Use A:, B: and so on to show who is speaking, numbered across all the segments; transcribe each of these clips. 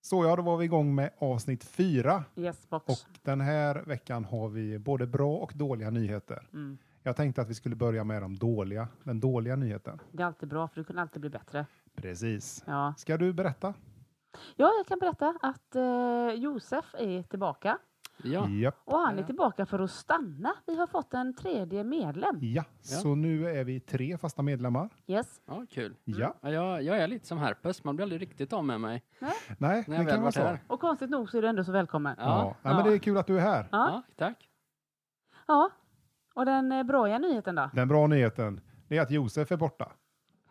A: Så ja, då var vi igång med avsnitt fyra.
B: Yes box.
A: Och den här veckan har vi både bra och dåliga nyheter.
B: Mm.
A: Jag tänkte att vi skulle börja med de dåliga, den dåliga nyheten.
B: Det är alltid bra för du kan alltid bli bättre.
A: Precis.
B: Ja,
A: Ska du berätta?
B: ja jag kan berätta att eh, Josef är tillbaka
C: Ja,
A: Japp.
B: och han är
C: Ja.
B: tillbaka för att stanna. Vi har fått en tredje medlem.
A: Ja.
C: Ja.
A: så nu är vi tre fasta medlemmar.
B: Yes.
C: ja kul.
A: Ja,
C: Ja, jag, jag är lite som herpes, man blir aldrig riktigt av med mig.
A: nej,
C: När jag
A: det
C: väl
A: kan vara
C: varit
A: så.
C: här.
A: Ja.
B: Och konstigt nog så är du ändå så välkommen. Ja.
C: Ja.
A: Nej, men det är kul att du är här.
B: ja.
C: Ja, tack.
B: Och den eh, bra nyheten då?
A: Den bra nyheten det är att Josef är borta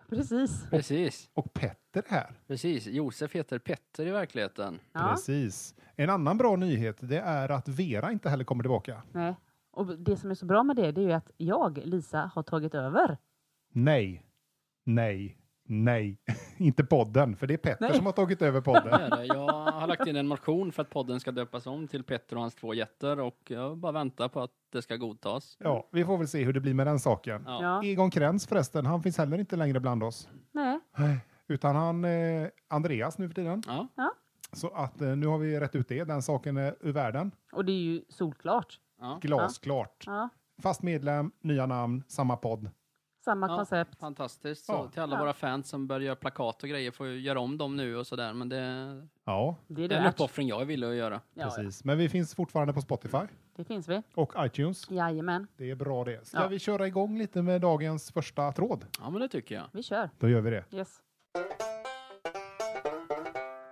B: Precis.
C: Precis,
A: och Petter är här.
C: precis. Josef heter Petter i verkligheten.
B: Ja.
A: Precis. En annan bra nyhet det är att Vera inte heller kommer tillbaka.
B: Nej. Och det som är så bra med det, det är ju att jag, Lisa, har tagit över.
A: Nej, nej, nej. inte podden, för det är Petter
B: Nej.
A: som har tagit över
C: Det
A: podden.
C: är det. Jag har lagt in en motion för att podden ska döpas om till Petter och hans två jätter och jag bara väntar på att det ska godtas.
A: Ja, vi får väl se hur det blir med den saken.
C: Ja.
B: Ja.
A: Egon Krenz förresten, han finns heller inte längre bland oss.
B: Nej.
A: Utan han, eh, Andreas nu för tiden.
C: Ja,
A: Så att eh, nu har vi rätt ut det, den saken är ur världen.
B: Och det är ju solklart.
C: ja.
A: Glasklart.
B: Ja.
A: Fast medlem, nya namn, samma podd.
B: Samma
C: Ja.
B: koncept.
C: Fantastiskt. Så
A: Ja.
C: till alla
B: Ja.
C: våra fans som börjar göra plakat och grejer får ju göra om dem nu och sådär. Men det,
A: Ja,
B: Det är
C: det är en
B: det värt.
C: uppoffring jag är villig att göra.
B: Ja, ja.
A: precis. Men vi finns fortfarande på Spotify
B: Det finns vi.
A: och iTunes.
B: Jajamän.
A: Det är bra det. Ska
B: Ja.
A: vi köra igång lite med dagens första tråd?
C: Ja, men det tycker jag.
B: Vi kör.
A: Då gör vi det.
B: Yes.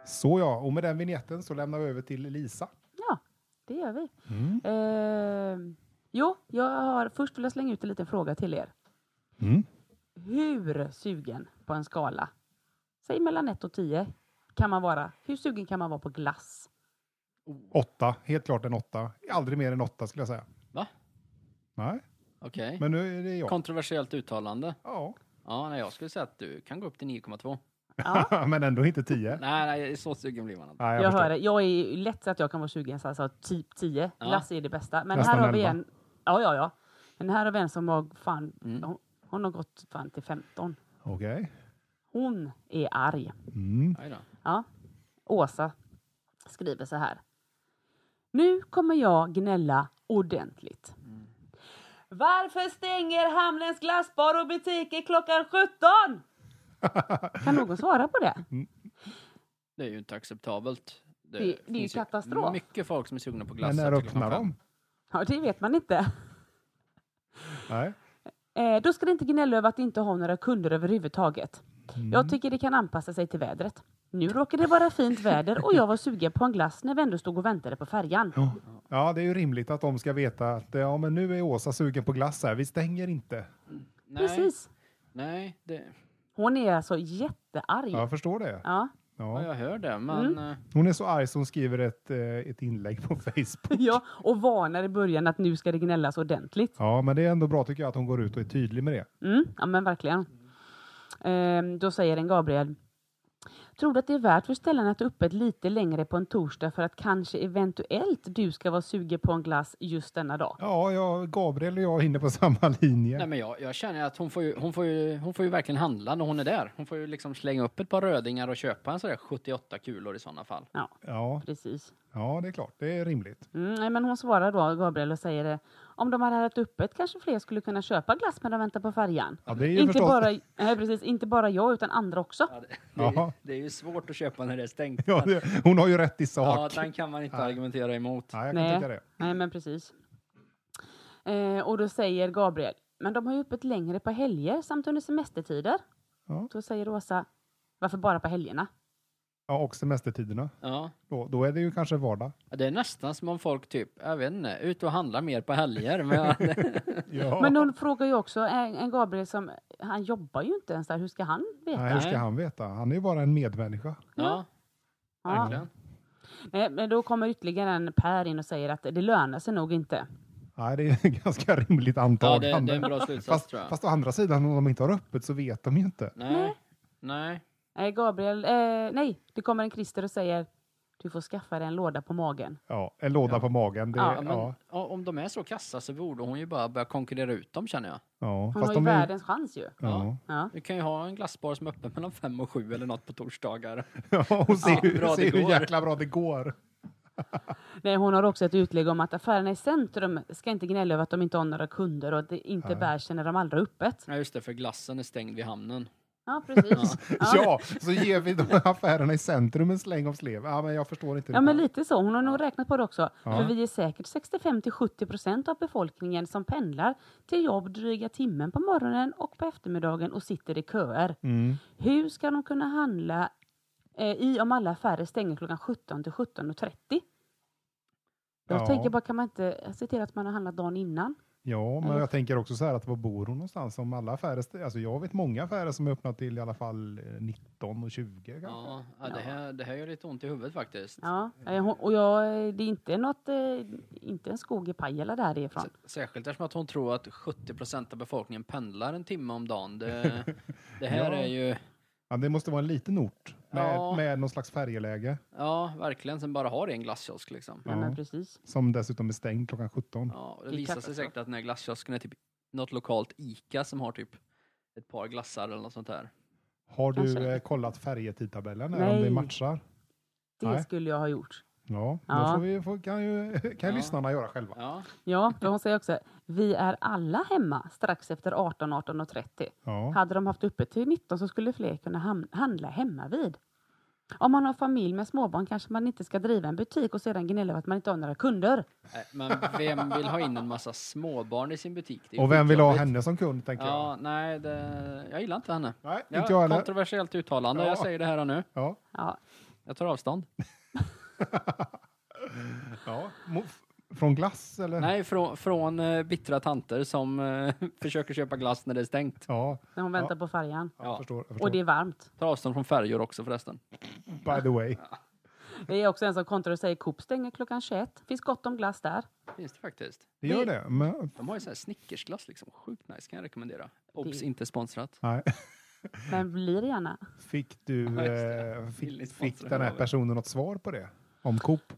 A: Så ja, och med den vignetten så lämnar vi över till Lisa.
B: Ja, det gör vi. Eh, jo, jag har först vill jag slänga ut en liten fråga till er.
A: Mm.
B: Hur sugen på en skala? Säg mellan 1 och 10 kan man vara. Hur sugen kan man vara på glass?
A: Åtta, helt klart en åtta. Aldrig mer än åtta skulle jag säga.
C: Va?
A: Nej,
C: Okej.
A: men nu är det jag.
C: Kontroversiellt uttalande.
A: Ja,
C: Ja, nej, jag skulle säga att du kan gå upp till 9,2.
B: Ja,
A: men ändå inte tio.
C: Nej, nej, så sugen blir man inte.
A: Nej,
B: jag,
A: jag, förstår.
B: hör det. Jag är ju lätt så att jag kan vara sugen så alltså typ 10.
C: Ja.
B: Glass är det bästa. Men
A: Nästan
B: här har vi
A: elva.
B: en. Ja, ja, ja. Men här har vi en som har fan,
C: Mm.
B: hon, hon har gått fan till 15.
A: Okej.
B: Hon är arg.
A: Mm.
C: Aj då.
B: Ja. Åsa skriver så här. Nu kommer jag gnälla ordentligt. Varför stänger Hamnens glassbar och butiker klockan 17? kan någon svara på det?
C: Det är ju inte acceptabelt.
B: Det- det är ju
C: finns
B: katastrof.
C: Mycket folk som är sugna på glass.
A: Men när
C: efter klockan
A: öppnar de?
C: fem.
B: Ja, det vet man inte.
A: Nej.
B: Eh, då ska det inte gnälla över att inte ha några kunder överhuvudtaget. Jag tycker det kan anpassa sig till vädret. Nu råkar det vara fint väder och jag var sugen på en glass när vi ändå stod och väntade på färjan.
A: Ja. ja, det är ju rimligt att de ska veta att ja, men nu är Åsa sugen på glass här. Vi stänger inte.
C: Nej,
B: Precis.
C: Nej, det,
B: Hon är alltså jättearg.
A: Jag förstår det.
B: Ja.
C: ja,
A: Ja.
C: jag hör
B: Mm.
C: det. Men eh,
A: Hon är så arg så hon skriver ett, eh, ett inlägg på Facebook.
B: Ja, och varnar i början att nu ska det gnällas ordentligt.
A: Ja, men det är ändå bra tycker jag att hon går ut och är tydlig med det.
B: Mm, ja men verkligen. Ehm, då säger en Gabriel. Tror du att det är värt för ställen att öppet lite längre på en torsdag för att kanske eventuellt du ska vara sugen på en glass just denna dag?
A: Ja, jag, Gabriel och jag är inne på samma linje.
C: nej, men jag, jag känner att hon får, ju, hon, får ju, hon får ju verkligen handla när hon är där. Hon får ju liksom slänga upp ett par rödingar och köpa en sådär 78 kulor i sådana fall.
B: Ja,
A: Ja,
B: precis.
A: ja, det är klart. Det är rimligt.
B: Mm, nej, men hon svarar då, Gabriel, och säger eh, om de hade haft öppet kanske fler skulle kunna köpa glass medan de väntar på färjan.
A: Ja, det är ju
B: Inte
A: förstås.
B: bara, nej, precis, inte bara jag utan andra också.
C: Ja, det, det, är, ju-
A: Ja.
C: det är ju svårt att köpa när det är stängt.
A: Ja, det, hon har ju rätt i
C: ja,
A: sak.
C: den kan man inte
A: Ja.
C: argumentera emot.
A: Nej, jag kan
B: Nej.
A: tycka det.
B: Nej, men precis. Eh, och då säger Gabriel, men de har ju öppet längre på helger samt under semestertider.
A: Ja.
B: Då säger Åsa, varför bara på helgerna?
A: Ja, och semestertiderna.
C: Ja.
A: Då, då är det ju kanske vardag.
C: Ja, Det är nästan som om folk typ, jag vet inte, ut och handlar mer på helger. Men
A: Ja.
B: Men hon frågar ju också, en, en Gabriel som, han jobbar ju inte ens där, hur ska han veta?
A: Nej, hur ska
C: Nej.
A: han veta? Han är ju bara en medmänniska.
C: ja,
B: ja.
C: verkligen.
B: Nej, men då kommer ytterligare en Per in och säger att det lönar sig nog inte.
A: Nej, det är ett ganska rimligt
C: Ja, det, det
A: antagande.
C: är en bra slutsats
A: fast,
C: tror jag.
A: fast å andra sidan, om de inte har öppet så vet de ju inte.
C: Nej. Nej.
B: eh, Nej, Gabriel, eh, nej, det kommer en Christer och säger, Du får skaffa dig en låda på magen.
A: Ja, en låda
C: Ja.
A: på magen. Det,
B: Ja,
A: ja,
C: men
A: ja,
C: o- om de är så kassa så borde hon ju bara börja konkurrera ut dem känner jag.
B: Hon
A: Fast
B: har ju
A: de är,
B: världens chans ju.
A: ja.
B: Ja.
C: Vi kan ju ha en glassbar som är öppen mellan fem och sju eller något på torsdagar.
A: ja, och se
C: Ja,
A: hur,
C: bra
A: se
C: det
A: hur
C: går.
A: jäkla bra det går.
B: Nej, hon har också ett utlägg om att affärerna i centrum ska inte gnälla över att de inte har några kunder och att det inte
A: Nej.
B: bär sig när de aldrig har öppet.
C: Ja just det, för glassen är stängd vid hamnen.
B: Ja, precis.
A: Ja. så ger vi de här affärerna i centrum en släng av slev. Ja, men jag förstår inte.
B: Ja,
A: det.
B: men lite så. Hon har nog räknat på det också.
A: Ja.
B: För vi är säkert 65 till 70 procent av befolkningen som pendlar till jobb dryga timmen på morgonen och på eftermiddagen och sitter i köer.
A: Mm.
B: Hur ska de kunna handla eh, i om alla affärer stänger klockan 17 till 17.30? Jag
A: Ja.
B: tänker bara, kan man inte se till att man har handlat dagen innan?
A: Ja, men
B: Eller-
A: jag tänker också så här att var bor hon någonstans? Om alla affärer, st- alltså jag vet många affärer som är öppna till i alla fall eh, 19 och 20 kanske.
C: Ja, ja, det, här, det här gör lite ont i huvudet faktiskt.
B: Ja, eh, hon- och jag, eh, det är inte något, eh, inte en skog i Pajala därifrån.
C: S- Särskilt eftersom att hon tror att 70% av befolkningen pendlar en timme om dagen. Det, det här
A: Ja.
C: är ju,
A: Ja, det måste vara en liten ort med,
C: Ja.
A: med någon slags färjeläge
C: ja verkligen, som bara har en glasskiosk liksom.
B: Nej, men
A: Ja.
B: precis.
A: som dessutom är stängd klockan 17.
C: Ja, och det
B: Det är
C: visar sig
B: katastrof.
C: säkert att den här glasskiosken är typ något lokalt ICA som har typ ett par glassar eller något sånt här.
A: Har
B: Kanske.
A: du eh, kollat färjetidtabellen här, om
B: Nej.
A: det matchar?
B: Det
A: Nej.
B: skulle jag ha gjort.
A: Ja,
B: Ja.
A: då får vi, får, kan ju kan
C: Ja.
A: lyssnarna göra själva.
C: Ja,
B: Ja, för hon säger också, vi är alla hemma strax efter 18, 18.30.
A: Ja.
B: Hade de haft öppet till 19 så skulle fler kunna ham- handla hemma vid. Om man har familj med småbarn kanske man inte ska driva en butik och sedan gnälla över att man inte har några kunder.
C: nej, men vem vill ha in en massa småbarn i sin butik? Det är ju
A: Och vem vill ha
C: skitjobbigt.
A: henne som kund, tänker
C: Ja, nej, det, jag gillar inte henne.
A: jag. Nej,
C: Ja,
A: inte jag heller.
C: kontroversiellt uttalande,
A: Ja.
C: jag säger det här och nu.
A: Ja.
B: Ja,
C: Jag tar avstånd.
A: Ja. Mo- f- Från glass, eller?
C: Nej, från, från eh, bittra tanter som eh, försöker köpa glass när det är stängt.
A: Ja,
B: när hon väntar på färjan.
A: jag
C: Ja.
A: förstår. Jag förstår.
B: Och det är varmt.
C: Tar avstånd från färjor också förresten.
A: By the way.
B: Det är också en som kontrar och säger Coop stänger klockan 21. Finns gott om glass där.
C: Finns det faktiskt.
A: Det gör det. Men,
C: De har ju sån här Snickersglass liksom. Sjukt nice, kan jag rekommendera. Mm. Obs,
B: Det-
C: inte sponsrat.
A: nej.
B: Men blir gärna.
A: Fick du,
C: Ja, just det.
A: eh,
C: Billig
A: fick,
C: sponsor
A: fick den
C: av
A: här
C: er.
A: personen något svar på det? Om Coop?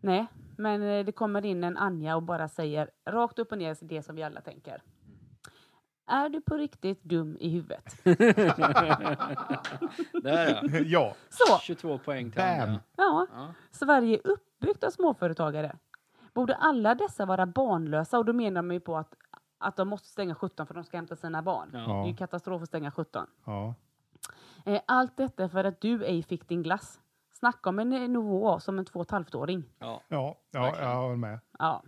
B: Nej, men eh, det kommer in en Anja och bara säger rakt upp och ner det som vi alla tänker. Är du på riktigt dum i huvudet?
C: Där ja.
A: ja.
B: Så,
C: 22 poäng till
A: Bam.
C: Anja.
B: ja.
C: Ja.
B: Sverige är uppbyggt av småföretagare. Borde alla dessa vara barnlösa? Och då menar de ju på att, att de måste stänga 17 för de ska hämta sina barn. Det är ju
A: Ja.
B: katastrof att stänga 17.
A: ja.
B: Eh, Allt detta för att du ej fick din glass. Snacka om en eh, nivå som en två och ett halvt-åring.
C: Ja.
A: Ja, ja jag håller med.
B: Ja.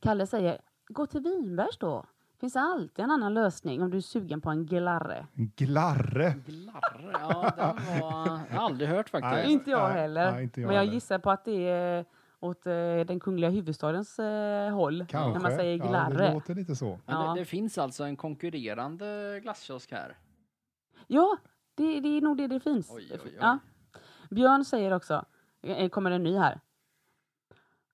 B: Kalle säger, gå till Vinbergs då. Finns alltid en annan lösning om du är sugen på en glarre.
A: Glarre.
C: Glarre, ja den var... Jag har aldrig hört faktiskt.
A: Nej.
B: inte jag
A: nej,
B: heller.
A: nej, inte jag
B: Men jag
A: heller.
B: gissar på att det är åt eh, den kungliga huvudstadens eh, håll.
A: Kanske.
B: När man säger
A: Ja, det
B: glarre.
A: låter lite så.
C: Men
B: Ja.
C: det, det finns alltså en konkurrerande glasskiosk här.
B: Ja, det, det är nog det det finns.
C: Oj, oj, oj.
B: Ja. Björn säger också, eh, kommer en ny här.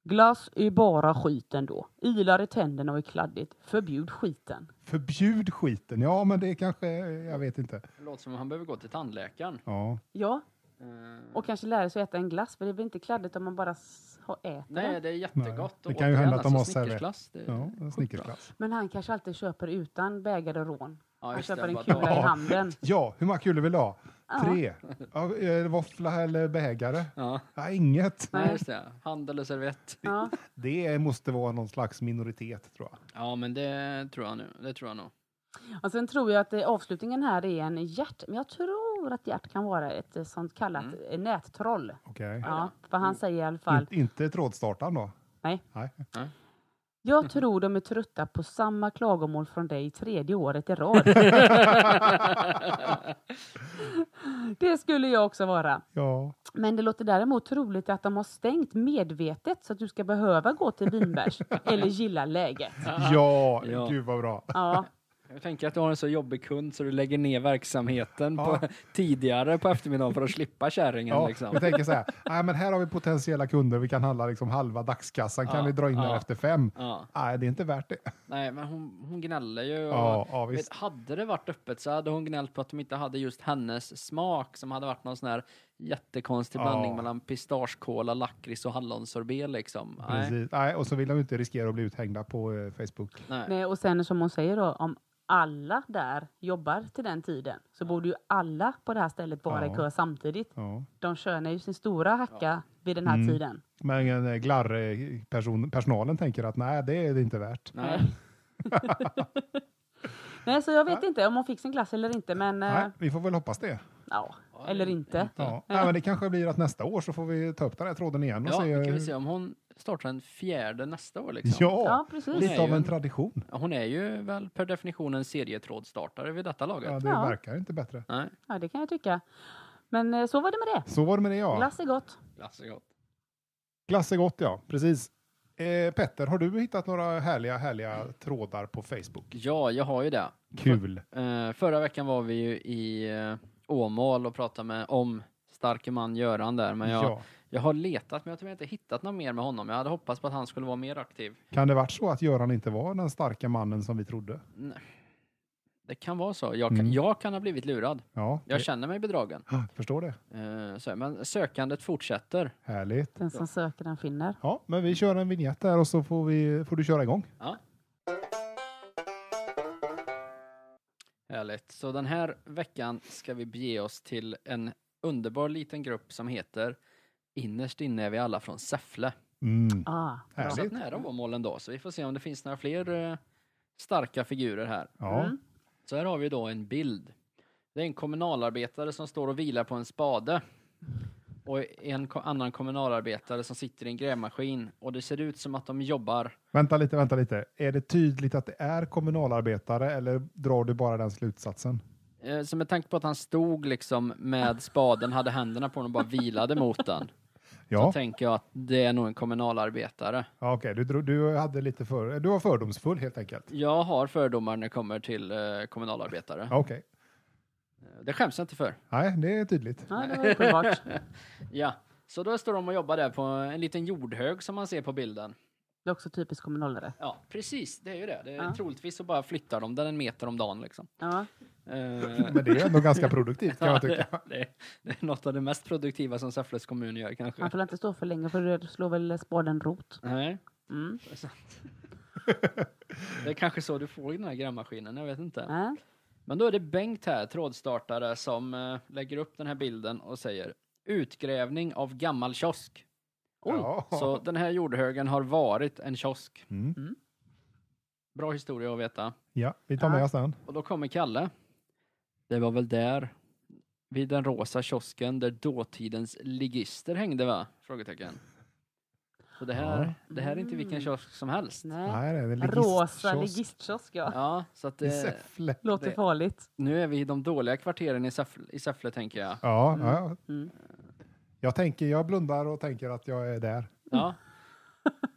B: Glass är ju bara skit ändå. Ilar i tänderna och är kladdigt. Förbjud skiten.
A: Förbjud skiten. Ja, men det kanske, jag vet inte.
C: Det låter som om han behöver gå till tandläkaren.
A: Ja.
B: Ja,
C: Eh,
B: och kanske lära sig att äta en glass, för det blir inte kladdigt om man bara s- har- äter den.
C: Nej, det är jättegott.
A: Nej, det kan ju
C: Och återigen,
A: hända att de
C: alltså,
A: har
C: Snickersglass, det-
A: Ja, en snickersglass.
B: Men han kanske alltid köper utan bägare och rån.
C: Ja,
B: han
C: just det,
B: köper en
C: bara
B: kula i
A: drar.
B: handen.
A: Ja, hur många kulor vill du ha?
B: Ja.
A: Tre. Ja, eh, våffla eller bägare?
C: Ja,
A: Ja, inget.
C: nej, just det. Hand eller servett.
B: Ja.
A: Det måste vara någon slags minoritet, tror jag.
C: Ja, men det tror jag nu. Det tror jag nog.
B: Och sen tror jag att eh, avslutningen här är en hjärt, men jag tror att hjärt kan vara ett eh, sånt kallat
C: Mm.
B: eh, nättroll.
A: Okej.
B: Ja, för han säger i alla fall,
A: In, inte trådstartaren då?
B: Nej.
A: Nej.
B: jag tror de är trötta på samma klagomål från dig tredje året i rad. det skulle jag också vara.
A: Ja.
B: Men det låter däremot troligt att de har stängt medvetet så att du ska behöva gå till Vinbergs eller gilla läget.
A: ja,
C: Ja.
A: gud vad bra.
B: Ja,
C: Jag tänker att du har en så jobbig kund så du lägger ner verksamheten på,
A: Ja.
C: tidigare på eftermiddagen för att slippa kärringen.
A: Ja,
C: liksom.
A: Jag tänker så här, nej, men här har vi potentiella kunder, vi kan handla liksom halva dagskassan,
C: Ja,
A: kan vi dra in den
C: ja.
A: efter fem?
C: Ja.
A: Nej, det är inte värt det.
C: Nej, men hon, hon gnäller ju. Och,
A: Ja, ja,
C: vet,
A: visst.
C: hade det varit öppet så hade hon gnällt på att de inte hade just hennes smak som hade varit någon sån här jättekonstig
A: Ja.
C: blandning mellan pistagekola, lakrits och hallonsorbet liksom. Nej.
A: Precis. Nej, och så vill de ju inte riskera att bli uthängda på eh, Facebook.
C: Nej.
B: Nej, och sen som hon säger då, om alla där jobbar till den tiden så borde ju alla på det här stället vara i
A: Ja.
B: kö samtidigt.
A: Ja.
B: De tjänar ju sin stora hacka vid den här
A: Mm.
B: tiden.
A: Men eh, glarr, eh, person, personalen tänker att nej, det är det inte värt.
C: Nej.
B: Nej, så jag vet inte om hon fick sin klass eller inte, men eh,
A: Nej, vi får väl hoppas det.
B: ja, eller inte.
A: Ja. Nej, men det kanske blir att nästa år så får vi ta upp den här tråden igen och
C: Ja,
A: se.
C: då kan vi
A: eh,
C: se om hon startar en fjärde nästa år liksom.
A: Ja,
B: Ja, precis.
C: Det är
A: lite av
C: ju
A: en
C: en-
A: tradition.
C: Hon är ju väl per definition en serietrådstartare vid detta laget.
A: Ja, det
B: Ja.
A: verkar inte bättre.
C: Nej,
B: Ja, det kan jag tycka. Men eh, så var det med det.
A: Så var det med det ja.
B: Glass är gott.
C: Lasse gott.
A: Glass är gott ja, precis. Eh, Petter, har du hittat några härliga, härliga trådar på Facebook?
C: Ja, jag har ju det.
A: Kul.
C: Eh, förra veckan var vi ju i eh, Åmål och pratade med, om starke man Göran där, men jag,
A: Ja.
C: jag har letat men jag har tyvärr inte hittat något mer med honom. Jag hade hoppats på att han skulle vara mer aktiv.
A: Kan det varit så att Göran inte var den starka mannen som vi trodde?
C: Det kan vara så. Jag kan,
A: Mm.
C: jag kan ha blivit lurad.
A: Ja,
C: Jag
A: det-
C: känner mig bedragen.
A: Ah, förstår det.
C: Eh, så, men sökandet fortsätter.
A: Härligt.
B: Den som söker den finner.
A: Ja, men vi kör en vignett där och så får, vi, får du köra igång.
C: Härligt. Så den här veckan ska vi bege oss till en underbar liten grupp som heter Innerst inne är vi alla fråfrån Säffle.
A: Mm.
B: Ah,
C: Jag satt
A: Härligt.
C: nära Åmål en dag, så vi får se om det finns några fler eh, starka figurer här.
A: Ja.
B: Mm.
C: Så här har vi då en bild. Det är en kommunalarbetare som står och vilar på en spade. Och en ko- annan kommunalarbetare som sitter i en grävmaskin. Och det ser ut som att de jobbar.
A: Vänta lite, vänta lite. Är det tydligt att det är kommunalarbetare eller drar du bara den slutsatsen?
C: Eh, så med tanke på att han stod liksom med spaden, hade händerna på den och bara vilade mot den. Så
A: Ja,
C: tänker jag att det är nog en kommunalarbetare.
A: ja okej. Du, drog- du, hade lite för, du var fördomsfull helt enkelt.
C: Jag har fördomar när det kommer till eh, kommunalarbetare.
A: Ja, Okej.
C: Det skäms jag inte för.
A: Nej, det är tydligt.
B: Ja, det var uppenbart.
C: Ja, så då står de och jobbar där på en liten jordhög som man ser på bilden.
B: Det är också typiskt kommunalare.
C: Ja, precis, det är ju det. det är,
B: Ja.
C: Troligtvis så bara flyttar de den en meter om dagen liksom.
B: Ja.
C: Eh,
A: Men det är ändå ganska produktivt kan jag tycka.
C: det, är- det är något av det mest produktiva som Säffles kommun gör kanske.
B: Man får inte stå för länge för du slår väl spaden rot.
C: Nej,
B: Mm.
C: det är sant. Det är kanske så du får den här grävmaskinen, jag vet inte.
B: Ja.
C: Men då är det Bengt här, trådstartare, som eh, lägger upp den här bilden och säger utgrävning av gammal kiosk.
A: Ja.
C: Så den här jordhögen har varit en kiosk.
A: Mm.
C: Bra historia att veta.
A: ja, vi tar med oss den.
C: Och då kommer Kalle. Det var väl där, vid den rosa kiosken, där dåtidens ligister hängde va? Frågetecken. Så det här, det här är inte vilken
B: Mm.
C: kiosk som helst.
B: Nej.
A: Nej, det är en ligist-
B: Rosa
A: kiosk
B: legistkiosk, ja.
C: Ja, så att
A: I
C: det,
A: Säffle.
B: Låter
C: det-
B: farligt.
C: nu är vi i de dåliga kvarteren i Säffle, i Säffle tänker jag.
A: Ja,
B: Mm.
A: ja.
B: Mm.
A: Jag, tänker, jag blundar och tänker att jag är där.
C: Ja.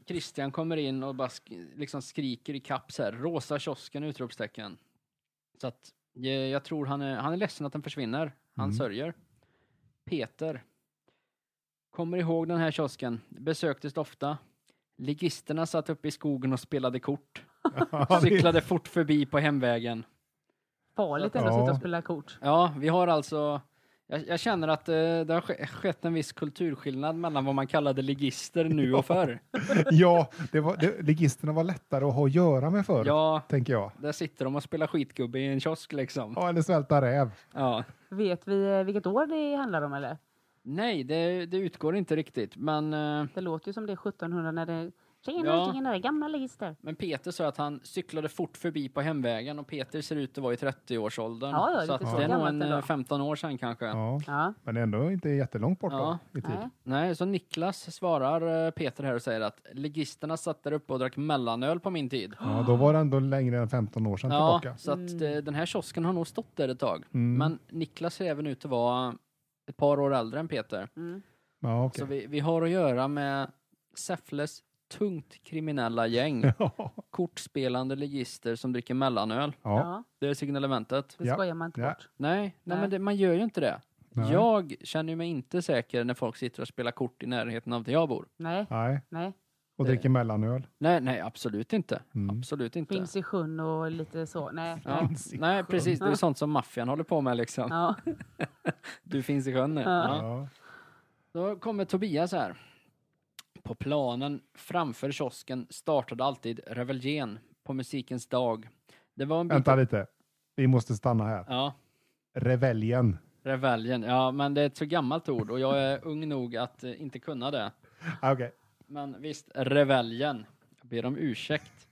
C: Christian kommer in och bara sk- liksom skriker i kapp så här, rosa kiosken, utropstecken. Så att eh, jag tror han är, han är ledsen att den försvinner. Han
A: Mm.
C: sörjer. Peter. Kommer ihåg den här kiosken. Besöktes ofta. Ligisterna satt uppe i skogen och spelade kort.
A: Ja, det-
C: Cyklade fort förbi på hemvägen.
B: Farligt ändå att
A: Ja.
B: sitta och spela kort.
C: Ja, vi har alltså... Jag, jag känner att eh, det har ske- skett en viss kulturskillnad mellan vad man kallade ligister nu och förr.
A: ja det var, det, ligisterna var lättare att ha att göra med förr,
C: Ja,
A: tänker jag.
C: Där sitter de och spelar skitgubbe i en kiosk liksom.
A: Ja, eller svälta räv.
C: Ja.
B: Vet vi eh, vilket år det handlar om eller?
C: Nej, det, det utgår inte riktigt. Men, eh,
B: Det låter ju som det är 1700 när det... Tjena,
C: Ja.
B: tjena, gamla ligister.
C: men Peter sa att han cyklade fort förbi på hemvägen och Peter ser ut att vara i 30-årsåldern.
B: Ja, ja,
C: så
B: lite
C: att
B: så
C: det är nog
B: gammalt
C: en
B: ändå.
C: eh, 15 år sedan kanske.
A: Ja,
B: Ja.
A: men ändå inte jättelångt bort
C: Ja.
A: då, i tid.
B: Nej.
C: Nej, så Niklas svarar eh, Peter här och säger att ligisterna satt där uppe och drack mellanöl på min tid.
A: Ja, då var det ändå längre än 15 år sedan
C: Ja,
A: tillbaka.
C: så att eh,
B: Mm.
C: den här kiosken har nog stått där ett tag.
A: Mm.
C: Men Niklas ser även ut att vara ett par år äldre än Peter.
B: Mm.
A: Ja, okej.
C: Så vi, vi har att göra med Säffles tungt kriminella gäng.
A: ja.
C: Kortspelande ligister som dricker mellanöl.
A: ja.
B: Ja.
C: Det är signalementet.
B: Det
A: Ja.
B: skojar man inte
A: Ja.
B: bort.
C: Nej, nej,
B: Nej.
C: men det, man gör ju inte det.
A: Nej.
C: Jag känner ju mig inte säker när folk sitter och spelar kort i närheten av där jag bor.
B: Nej,
A: Nej,
B: nej.
A: och dricker mellanöl.
C: Nej, nej, absolut inte.
A: Mm.
C: Absolut inte.
B: Finns i sjön och lite så. Nej.
C: Ja.
A: Finns i
C: Nej,
A: sjön.
C: precis. Det är
B: Ja.
C: sånt som maffian håller på med liksom.
B: Ja.
C: Du finns i sjön nu.
B: Ja.
C: Ja. Då kommer Tobias här. På planen framför kiosken startade alltid reveljen på musikens dag. Det var en bit...
A: Vänta lite. Vi måste stanna här.
C: Ja,
A: Reveljen.
C: reveljen. Ja, men det är ett så gammalt ord och jag är ung nog att eh, inte kunna det.
A: Ah, Okej.
C: Men visst, reveljen. Jag ber om ursäkt.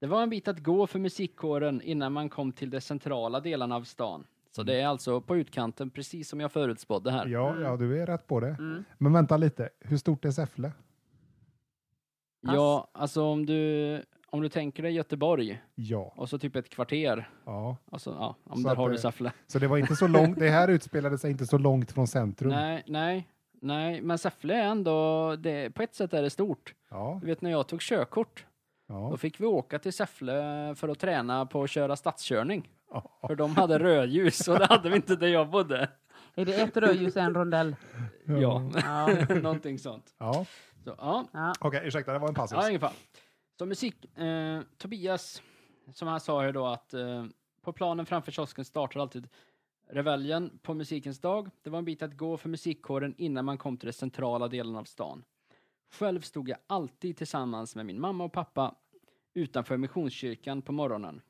C: Det var en bit att gå för musikkåren innan man kom till de centrala delarna av stan. Så det är alltså på utkanten, precis som jag förutspådde här.
A: Ja, ja, du är rätt på det.
B: Mm.
A: Men vänta lite. Hur stort är Säffle?
C: Ja, alltså om du, om du tänker dig Göteborg
A: Ja.
C: och så typ ett kvarter.
A: ja.
C: Och så, Alltså, ja, om
A: Så
C: där
A: att
C: har du
A: det-
C: Säffle.
A: Så det var inte så långt. Det här utspelade sig inte så långt från centrum.
C: Nej, nej, nej, men Säffle är ändå, det, på ett sätt är det stort.
A: Ja.
C: Du vet när jag tog körkort, då
A: Ja.
C: fick vi åka till Säffle för att träna på att köra stadskörning.
A: Ja.
C: För de hade rödljus och det hade vi inte där jag bodde.
B: Är det ett rödljus och en rondell?
C: Ja,
B: Ja.
C: någonting sånt.
A: ja.
C: Så, ja.
B: ja.
A: Okej, ursäkta. Det var en passus.
C: Ja, i alla fall. Så musik, eh, Tobias, som han sa ju då att eh, på planen framför kiosken startar alltid reveljen på musikens dag. Det var en bit att gå för musikkåren innan man kom till den centrala delen av stan. Själv stod jag alltid tillsammans med min mamma och pappa utanför Missionskyrkan på morgonen.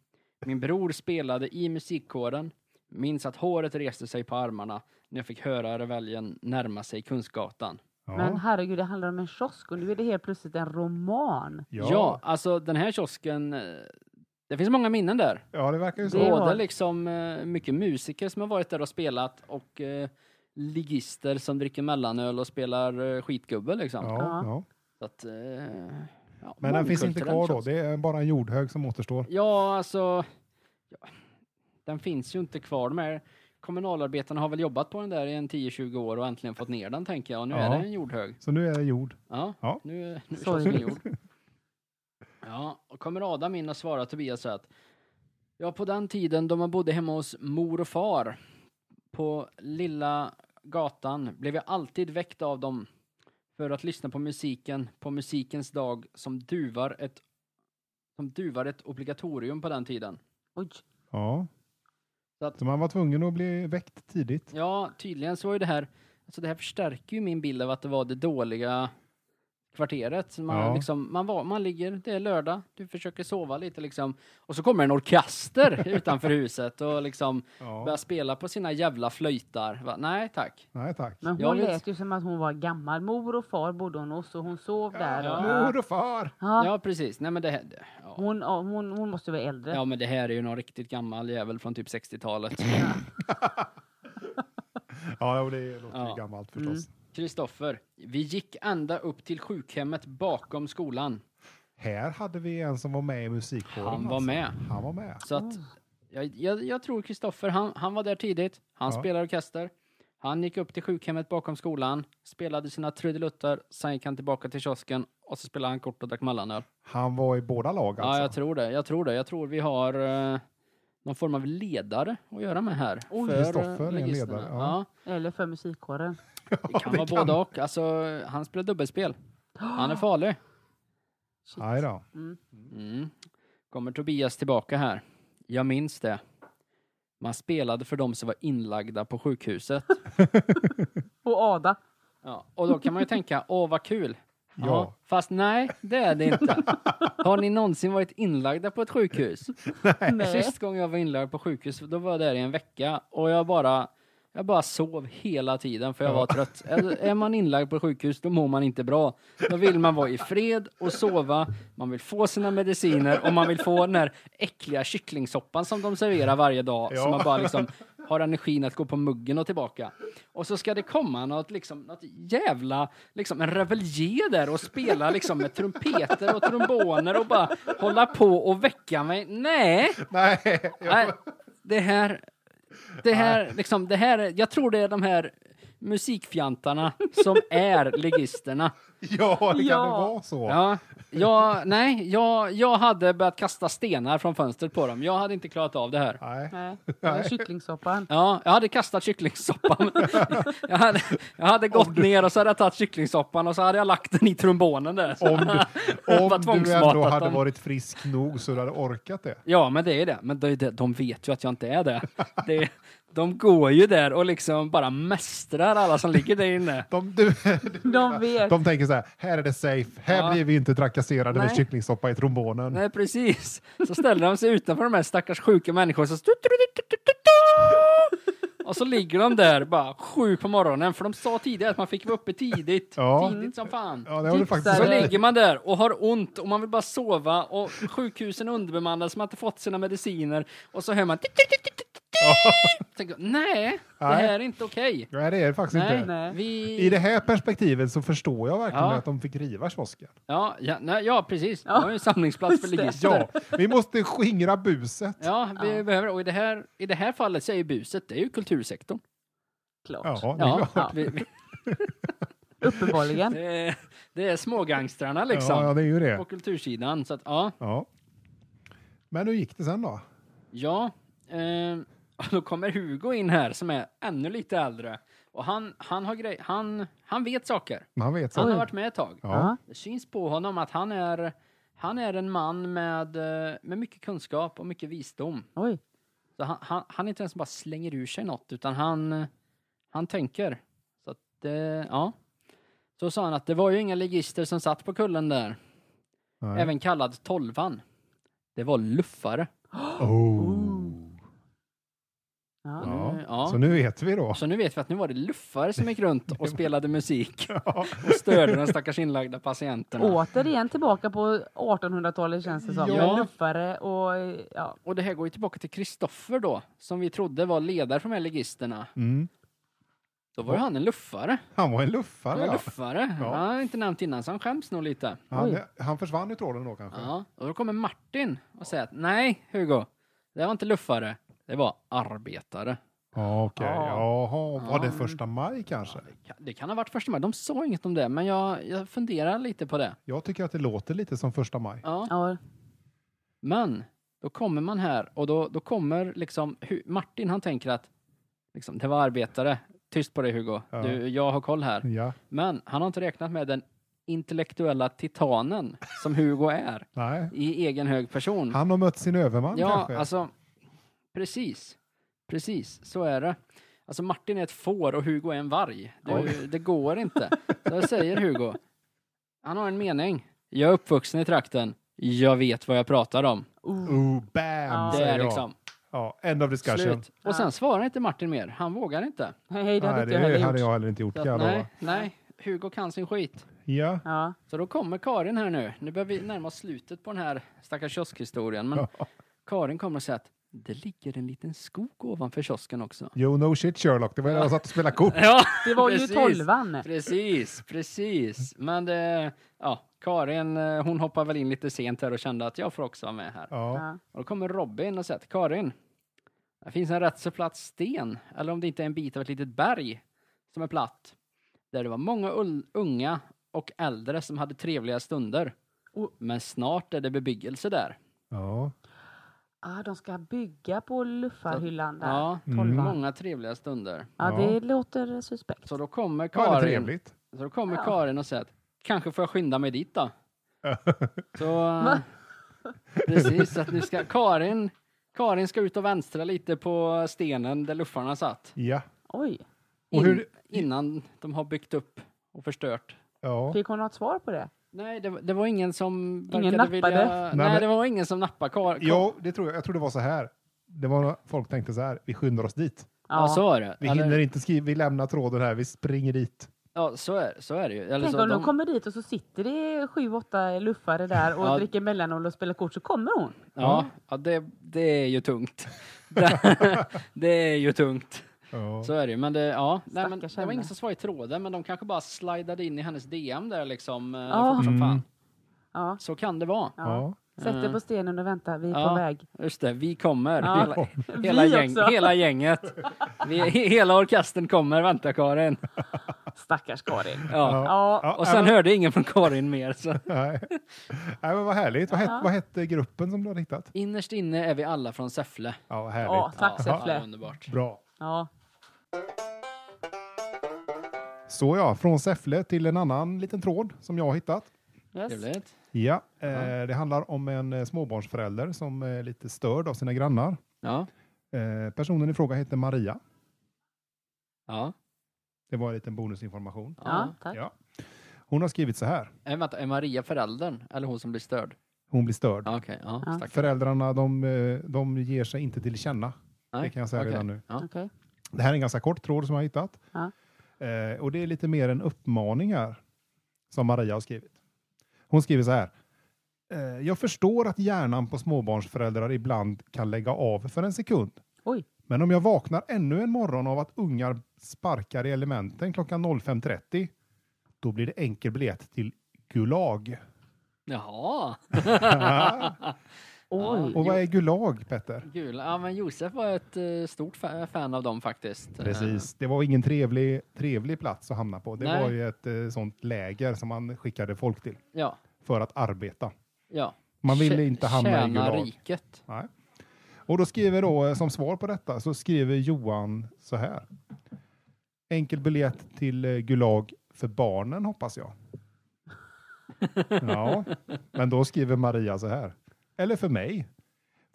C: Min bror spelade i musikkåren, minns att håret reste sig på armarna när jag fick höra reveljen närma sig Kungsgatan.
A: Ja.
B: Men herregud, det handlar om en kiosk och nu är det helt plötsligt en roman.
A: Ja.
C: Ja. alltså den här kiosken, eh, det finns många minnen där.
A: Ja, det verkar ju så.
B: Det
C: Både
B: har-
C: liksom eh, mycket musiker som har varit där och spelat och eh, ligister som dricker mellanöl och spelar eh, skitgubbe liksom.
A: Ja,
B: Ja.
A: ja.
C: Så att, eh, ja,
A: Men den finns inte
C: mångkulturell
A: kvar då.
C: kiosk.
A: Det är bara en jordhög som återstår.
C: Ja, alltså, ja, den finns ju inte kvar. De här kommunalarbetarna har väl jobbat på den där i en 10-20 år och äntligen fått ner den tänker jag. Och nu
A: Ja.
C: är det en jordhög.
A: Så nu är det jord.
C: Ja,
A: Ja.
C: nu, nu körs
B: Sorgligt.
C: min jord. Ja, och kommer Adam in och svarar Tobias så att Ja, på den tiden då man bodde hemma hos mor och far på lilla gatan blev jag alltid väckt av dem för att lyssna på musiken på musikens dag som duvar ett som duvar ett obligatorium på den tiden.
B: Oj.
A: Ja.
C: Så att-
A: Så man var tvungen att bli väckt tidigt.
C: Ja, tydligen så var ju det här, alltså det här förstärker ju min bild av att det var det dåliga kvarteret. Så Man,
A: Ja.
C: liksom, man, var, man ligger, det är lördag, du försöker sova lite liksom. Och så kommer en orkester utanför huset och liksom börjar
A: Ja.
C: spela på sina jävla flöjtar. Va? Nej tack.
A: Nej tack.
B: Men
C: Jag
B: hon
C: vet-
B: lät ju som att hon var gammal. Mor och far bodde hon hos och hon sov där.
C: Ja.
A: Mor och far!
B: Ja.
C: Ja precis, nej men det här, det- ja.
B: Hon, ja, hon, hon måste vara äldre.
C: ja men det här är ju någon riktigt gammal jävel från typ 60-talet.
A: Ja, och det låter
C: Ja. Mm.
A: ju gammalt förstås.
C: Kristoffer, vi gick ända upp till sjukhemmet bakom skolan.
A: Här hade vi en som var med i musikkåren.
C: Han var
A: alltså.
C: med.
A: Han var med.
C: Så att, jag, jag, jag tror Kristoffer, han, han var där tidigt. Han
A: Ja.
C: spelade orkester. Han gick upp till sjukhemmet bakom skolan, spelade sina trudeluttar, sen gick han tillbaka till kiosken och så spelade han kort och drack mellanöl.
A: Han var i båda lag
C: Ja,
A: alltså.
C: jag tror det. Jag tror det. Jag tror vi har eh, någon form av ledare att göra med här.
B: Oj.
C: För, eh,
A: Kristoffer är en
C: ligisterna.
A: ledare, ja.
B: Eller för musikkåren.
C: det kan
A: det
C: vara
A: kan.
C: både och. Alltså, han spelar dubbelspel. Han är farlig.
B: Shit.
A: Aj då.
B: Mm.
C: Mm. Kommer Tobias tillbaka här. Jag minns det. Man spelade för de som var inlagda på sjukhuset.
B: Och Ada.
C: Ja, och då kan man ju tänka, åh vad kul. Ja.
A: Ja.
C: Fast nej, det är det inte. Har ni någonsin varit inlagda på ett sjukhus?
B: Nej.
C: Sist gång jag var inlagd på sjukhus, då var jag där i en vecka och jag bara, jag bara sov hela tiden för jag var trött. Är, är man inlagd på sjukhus, då mår man inte bra. Då vill man vara i fred och sova, man vill få sina mediciner och man vill få den här äckliga kycklingsoppan som de serverar varje dag. Så
A: Ja.
C: man bara liksom har energin att gå på muggen och tillbaka. Och så ska det komma något, liksom, något jävla, liksom en revelje där och spela liksom med trumpeter och tromboner och bara hålla på och väcka mig. Nej!
A: Nej,
C: Nej, det här... Det här, liksom, det här, är- jag tror det är de här musikfjantarna som är ligisterna.
A: ja, det kan
B: Ja.
A: det vara så.
C: Ja, jag, nej, jag, jag hade börjat kasta stenar från fönstret på dem. Jag hade inte klarat av det här.
A: Nej.
B: Nej. Det var kycklingsoppan.
C: Ja, jag hade kastat kycklingssoppan. Jag hade, jag hade gått ner och så hade jag tagit kycklingsoppan och så hade jag lagt den i trombonen där.
A: Om, du,
C: Bara
A: Om du ändå
C: tvångsmatat
A: hade
C: dem.
A: varit frisk nog så du hade orkat det.
C: Ja, men det är det. Men det, det, de vet ju att jag inte är det. det. De går ju där och liksom bara mästrar alla som ligger där inne.
A: De, du,
B: De vet.
A: de tänker så här, här är det safe, här
C: Ja.
A: blir vi inte trakasserade med
C: Nej.
A: kycklingsoppa i trombonen.
C: Nej, precis. Så ställer de sig utanför de här stackars sjuka människorna. Så... Och så ligger de där bara sju på morgonen, för de sa tidigare att man fick vara uppe tidigt.
A: Ja.
C: Tidigt som fan.
A: Ja, det har du
B: Tipsar.
A: faktiskt
C: Så
B: Där.
C: ligger man där och har ont och man vill bara sova och sjukhusen är underbemannade så man har inte fått sina mediciner och så hör man Tänker, Nej, det
A: Nej.
C: här är inte okej.
A: Nej, det är det faktiskt
C: Nej,
A: inte.
B: Nej.
A: I
C: Vi...
A: det här perspektivet så förstår jag verkligen
C: Ja.
A: att de fick riva kiosken.
C: Ja, ja, nej, ja, precis. Det
B: Ja.
C: var ju en samlingsplats för
B: Just det.
C: ligister.
A: Ja, vi måste skingra buset.
C: Ja, vi
B: Ja.
C: behöver Och i det, här, i det här fallet så är ju buset, det är ju kultursektorn.
B: Klart.
A: Ja, det är
C: Ja,
A: klart.
B: Ja.
C: vi, vi,
B: Uppenbarligen.
C: det, är, det är smågangstrarna liksom.
A: ja, ja, det är ju det.
C: På kultursidan. Så att, ja.
A: Ja. Men hur gick det sen då?
C: Ja, eh, då kommer Hugo in här som är ännu lite äldre. Och han, han, har grej, han, han vet saker.
A: Han vet
C: Han
A: så.
C: har varit med ett tag.
A: Ja.
C: Det syns på honom att han är, han är en man med, eh, med mycket kunskap och mycket visdom.
B: Oj.
C: Så han, han, han är inte ens bara slänger ur sig något, utan han, han tänker. Så att, eh, ja. Så sa han att det var ju inga ligister som satt på kullen där.
A: Nej.
C: Även kallad tolvan. Det var luffare.
A: Oh.
B: Ja.
A: Ja.
C: Eh, ja.
A: Så nu vet vi då.
C: Så nu vet vi att nu var det luffare som gick runt och spelade musik
A: Ja.
C: och störde de stackars inlagda patienterna.
B: Återigen tillbaka på 1800-talet känns det som.
A: Ja.
B: Med luffare och eh, ja.
C: Och det här går ju tillbaka till Kristoffer då, som vi trodde var ledare för de här ligisterna.
A: Mm.
C: Då var ju han en luffare.
A: Han var en
C: Han
A: luffare.
C: var
A: Ja.
C: luffare.
A: Ja.
C: Han har inte nämnt innan, så han skäms nog lite.
A: Han, han försvann i tråden då kanske.
C: Ja. Och då kommer Martin och säger att nej, Hugo, det var inte luffare. Det var arbetare.
A: Ja, okej.
B: Ja.
A: Jaha, var det
C: Ja.
A: första maj kanske?
C: Det kan ha varit första maj. De sa inget om det, men jag, jag funderar lite på det.
A: Jag tycker att det låter lite som första maj.
C: Ja.
B: ja.
C: Men då kommer man här och då, då kommer liksom Hu- Martin han tänker att liksom, det var arbetare. Tyst på dig Hugo.
A: Ja.
C: Du, jag har koll här.
A: Ja,
C: Men han har inte räknat med den intellektuella titanen som Hugo är
A: nej.
C: i egen hög person.
A: Han har mött sin överman
C: Mm. ja,
A: kanske?
C: alltså precis. Precis, så är det. Alltså Martin är ett får och Hugo är en varg. Det, det går inte. Så jag säger Hugo. Han har en mening. Jag är uppvuxen i trakten. Jag vet vad jag pratar om.
B: Oh.
A: Oh, bam,
B: Ja.
C: Det
A: säger
C: är
A: jag.
C: liksom
A: Ja, end of discussion.
C: Slut. Och sen svarar inte Martin mer. Han vågar inte.
B: Hej, det hade
A: Nej,
B: inte jag heller
A: det hade
B: gjort.
A: jag heller inte gjort,
C: Så
A: kan
C: att,
A: jag lova.
C: nej, nej, Hugo kan sin skit.
A: Ja.
B: Ja.
C: Så då kommer Karin här nu. Nu börjar vi närma oss slutet på den här stackars kioskhistorien. Men Karin kommer och säger att det ligger en liten skog ovanför kiosken också.
A: Jo, no shit Sherlock, det var när jag satt och spelade kort.
C: Ja,
B: Det var ju
C: precis.
B: tolvan.
C: Precis, precis. Men det, ja, Karin eh, hon hoppar väl in lite sent här och kände att jag får också vara med här.
A: Ja.
B: Ja.
C: Och då kommer Robin och säger till Karin. Det finns en rätt så platt sten, eller om det inte är en bit av ett litet berg som är platt. Där det var många ul- unga och äldre som hade trevliga stunder.
B: Och-
C: Men snart är det bebyggelse där.
A: ja.
B: Ah, de ska bygga på luffarhyllan där. Ja.
C: Ja,
A: Mm.
C: många trevliga stunder.
B: det låter suspekt.
C: Så då kommer
A: Vad är det
C: Karin,
A: trevligt.
C: så då kommer
B: Ja.
C: Karin och säger att kanske får jag skynda mig dit då. Så, eh,
B: Va?
C: precis, att nu ska Karin, Karin ska ut och vänstra lite på stenen där luffarna satt.
A: Ja.
B: Oj,
A: Och
C: In,
A: hur-
C: Innan de har byggt upp och förstört.
A: Ja.
B: fick hon något svar på det?
C: Nej, det, var- det var ingen som
B: Ingen
C: verkade
B: nappade?
C: vilja... Nej,
A: Nej, men-
C: det var ingen som nappade. Kar, kar,
A: Jo, det tror jag. Jag tror det var så här. Det var när folk tänkte så här, vi skyndar oss dit.
C: ja. så var det.
A: Vi
C: Eller-
A: hinner inte skriva, vi lämnar tråden här, vi springer dit.
C: Ja, så är, så är det ju. Eller
B: Tänk
C: så,
B: om de...
C: de-
B: kommer dit och så sitter det sju, åtta luffare där och
C: Ja.
B: dricker mellanöl och spelar kort så kommer hon.
C: Ja, ja det, det är ju tungt. det är ju tungt.
A: Ja.
C: Så är det ju. Men det, ja, nej, men
B: Stackars
C: det var
B: henne.
C: ingen som svarade i tråden, men de kanske bara slidade in i hennes DM där liksom. eh,
B: Ja.
C: Fort som
A: Mm.
C: fan.
B: Ja.
C: Så kan det vara.
B: Ja.
A: Ja.
B: Sätt dig på stenen och vänta, vi är
C: Mm. Ja.
B: på väg.
C: Just det, vi kommer.
B: Ja.
C: Hela,
B: Vi
C: hela, gäng,
B: också.
C: hela gänget. Vi, he- hela orkestern kommer, vänta Karin.
B: Stackars Karin.
C: Ja.
B: Ja.
A: Ja,
C: Och sen
A: nej,
C: hörde ingen från Karin mer. Så.
A: men- Nej. Nej, men vad härligt. Vad,
B: Ja.
A: het, vad hette gruppen som du har hittat?
C: Innerst inne är vi alla från Säffle.
A: Ja, vad härligt.
B: Ja, tack
C: ja,
B: Säffle.
C: ja, underbart.
A: Bra.
B: Ja.
A: Så ja, från Säffle till en annan liten tråd som jag har hittat.
B: Yes.
C: Trevligt.
A: Ja, eh, det handlar om en eh, småbarnsförälder som är lite störd av sina grannar.
C: Ja.
A: Eh, personen i fråga heter Maria.
C: Ja.
A: Det var en liten bonusinformation.
B: Ja,
C: ja.
B: tack.
A: Ja. Hon har skrivit så här.
C: Är, vänta, är Maria föräldern? Eller hon som blir störd?
A: Hon blir störd.
C: Ja, okej. Ja,
B: Ja.
C: stackare.
A: Föräldrarna de, eh, de ger sig inte till känna.
C: Nej,
A: Det kan jag säga
C: okej.
A: redan nu.
C: Ja.
B: Okej.
A: Det här är en ganska kort tråd som jag har hittat.
B: Ja.
A: Eh, och det är lite mer en uppmaning här som Maria har skrivit. Hon skriver så här. Eh, jag förstår att hjärnan på småbarnsföräldrar ibland kan lägga av för en sekund.
B: Oj.
A: Men om jag vaknar ännu en morgon av att ungar sparkar i elementen klockan 05.30, då blir det enkel biljett till Gulag.
C: Jaha.
B: Oj.
A: Och vad är Gulag, Petter?
C: Kul. Ja, men Josef var ett eh, stort fa- fan av dem faktiskt. Eh,
A: Precis. Det var ingen trevlig, trevlig plats att hamna på. Det
C: Nej.
A: var ju ett eh, sånt läger som man skickade folk till
C: Eh, Ja.
A: för att arbeta.
C: ja.
A: Man ville
C: Tjä-
A: inte hamna i
C: tjäna
A: Gulag.
C: riket.
A: Nej. Och då skriver då, eh, som svar på detta, så skriver Johan så här. Enkel biljett till eh, Gulag för barnen hoppas jag. Ja, men då skriver Maria så här. Eller för mig.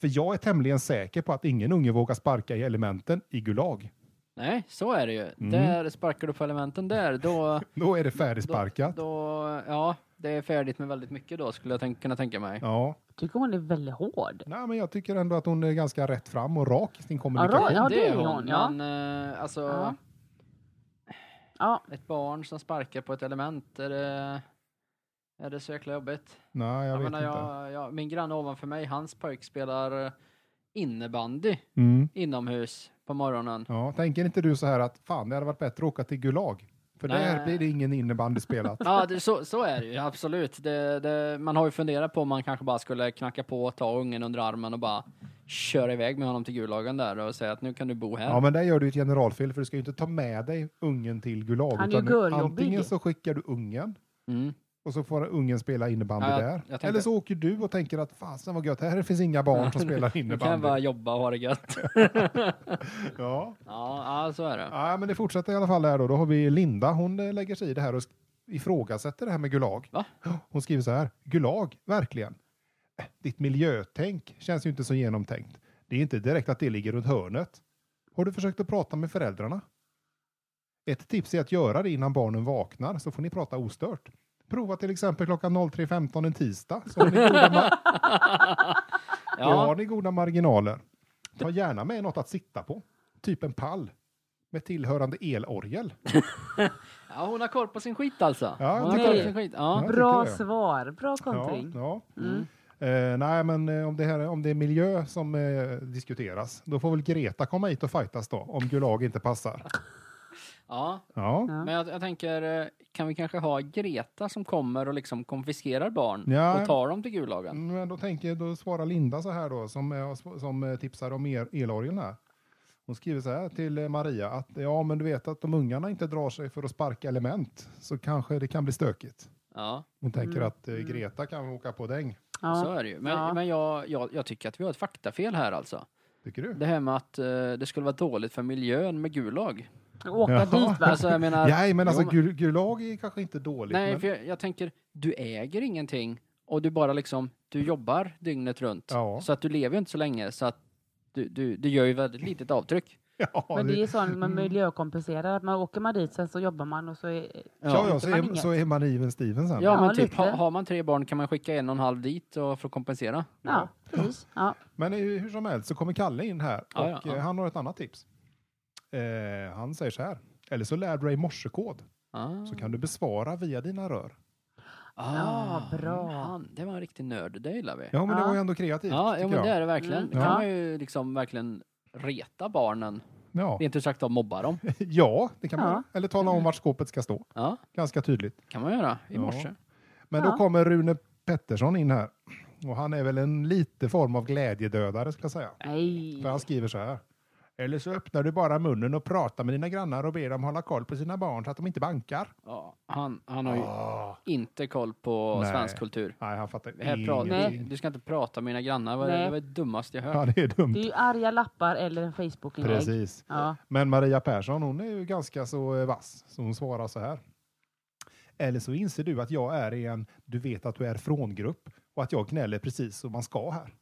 A: För jag är tämligen säker på att ingen unge vågar sparka i elementen i Gulag.
C: Nej, så är det ju.
A: Mm.
C: Där sparkar du på elementen där, då...
A: Då är det färdigsparkat.
C: Då, ja, det är färdigt med väldigt mycket då, skulle jag tänk, kunna tänka mig.
A: Ja,
B: Tycker hon är väldigt hård.
A: Nej, men jag tycker ändå att hon är ganska rätt fram och rak i sin kommunikation.
B: rak. Ja, det är
C: är
B: hon, ja.
C: Men eh, alltså,
B: Ja. Ja,
C: ett barn som sparkar på ett element, är det, är det så jäkla jobbigt?
A: Nej, jag,
C: Jag
A: vet
C: menar,
A: inte.
C: jag, jag, min granne ovanför mig, hans pojk spelar eh, innebandy
A: Mm.
C: inomhus på morgonen.
A: Ja, tänker inte du så här att fan, det hade varit bättre att åka till Gulag? För där
C: Nej.
A: blir det ingen innebandy spelat.
C: Ja, det, så, så är det ju absolut. Det, det, man har ju funderat på om man kanske bara skulle knacka på, ta ungen under armen och bara köra iväg med honom till Gulagen där och säga att nu kan du bo här.
A: Ja, men där gör du ett generalfel, för du ska ju inte ta med dig ungen till Gulag.
B: Han är ju
A: utan
B: görjobbig.
A: antingen så skickar du ungen,
C: Mm.
A: och så får ungen spela innebandy
C: Ja, jag-
A: där.
C: jag tänkte-
A: Eller så åker du och tänker att fasen vad gött, här finns inga barn som spelar
C: Nu kan jag
A: innebandy.
C: bara jobba och ha det gött.
A: Ja.
C: Ja, ja så är det.
A: ja, men det fortsätter i alla fall här då. Då har vi Linda, hon eh, lägger sig i det här och sk- ifrågasätter det här med Gulag.
C: Va?
A: Hon skriver så här, Gulag, verkligen. Äh, Ditt miljötänk känns ju inte så genomtänkt. Det är inte direkt att det ligger runt hörnet. Har du försökt att prata med föräldrarna? Ett tips är att göra det innan barnen vaknar så får ni prata ostört. Prova till exempel klockan 03.15 en tisdag. Så har ni goda, ma- då har
C: Ja,
A: ni goda marginaler. Ta gärna med något att sitta på. Typ en pall. Med tillhörande elorgel.
C: ja, hon har koll på sin skit alltså.
A: Ja, jag
C: hon har
B: tycker
C: koll på
B: det.
C: sin skit. Ja.
A: Ja.
B: bra
A: tycker det.
B: svar. Bra kontring.
A: Ja, ja.
B: Mm.
A: Eh, nej, men eh, om det, här, om det är miljö som eh, diskuteras, då får väl Greta komma hit och fightas då, om Gulag inte passar.
C: Ja.
A: Ja,
B: Ja.
C: Men jag, jag tänker, eh, kan vi kanske ha Greta som kommer och liksom konfiskerar barn
A: Ja.
C: och tar dem till Gulagen?
A: men då, tänker, då svarar Linda så här då, som, eh, sp- som eh, tipsar om er, elorgeln här. Hon skriver så här till eh, Maria, att ja, men du vet att om ungarna inte drar sig för att sparka element, så kanske det kan bli stökigt.
C: Ja,
A: Hon tänker
B: Mm.
A: att eh, Greta kan åka på däng,
C: så
B: Ja.
C: är det ju. Men,
B: Ja.
C: men jag, jag, jag tycker att vi har ett faktafel här alltså.
A: tycker du?
C: Det här med att eh, det skulle vara dåligt för miljön med Gulag.
B: Åka
A: Ja.
B: dit va?
C: Alltså jag menar...
A: Nej, men alltså
C: Jo,
A: Gu- Gulag är kanske inte dåligt.
C: Nej,
A: men,
C: för jag, jag tänker, du äger ingenting och du bara liksom, du jobbar dygnet runt.
A: Ja.
C: Så att du lever ju inte så länge så att du, du, du gör ju väldigt litet avtryck.
A: ja,
B: Men
A: det-
B: det är sånt
C: mm.
B: man miljökompenserar. Att man åker man dit, sen så jobbar man och så är...
A: Ja, ja,
B: inte
A: så
B: man
A: är,
B: inget.
A: så är man riven Steven sen.
C: Ja,
B: Ja,
C: men typ,
B: lite.
C: ha, har man tre barn kan man skicka en och en halv dit och för att kompensera.
B: Ja, precis. Ja.
A: Men eh, hur hur som helst så kommer Kalle in här och
C: Ja, ja, ja.
A: eh, han har ett annat tips. Eh, han säger så här. Eller så lär du dig morsekod
C: Ah.
A: så kan du besvara via dina rör.
B: Ja, bra.
C: Han, det var en riktig nörd, det gillar vi. Ja,
A: Ja, men det
B: Ja.
A: var ju ändå kreativt.
C: ja,
A: tycker
C: men det
A: jag.
C: är det verkligen.
B: Mm.
C: Kan
A: Ja.
C: man ju liksom verkligen reta barnen.
A: Ja.
C: Rent ut sagt då mobba dem.
A: ja, det kan man
B: Ja.
A: göra. Eller tala om vart skåpet ska stå.
C: Ja,
A: Ganska tydligt.
C: kan man göra i
A: Ja.
C: morse.
A: Men
B: Ja.
A: då kommer Rune Pettersson in här. Och han är väl en lite form av glädjedödare ska jag säga.
B: Nej.
A: För han skriver så här. Eller så öppnar du bara munnen och pratar med dina grannar och ber dem hålla koll på sina barn så att de inte bankar.
C: Ja, han, han har ju
A: Ah.
C: inte koll på
A: Nej.
C: svensk kultur.
A: Nej, han fattar
C: Här pra-
B: Nej.
C: Du ska inte prata med mina grannar, Vad-
B: Nej.
C: det var det dummaste jag hört.
A: Ja, det är dumt.
B: Det är ju arga lappar eller en Facebook-inlägg.
A: Precis.
B: Ja.
A: Men Maria Persson, hon är ju ganska så eh, vass, så hon svarar så här. Eller så inser du att jag är i en du vet att du är från-grupp och att jag gnäller precis som man ska här.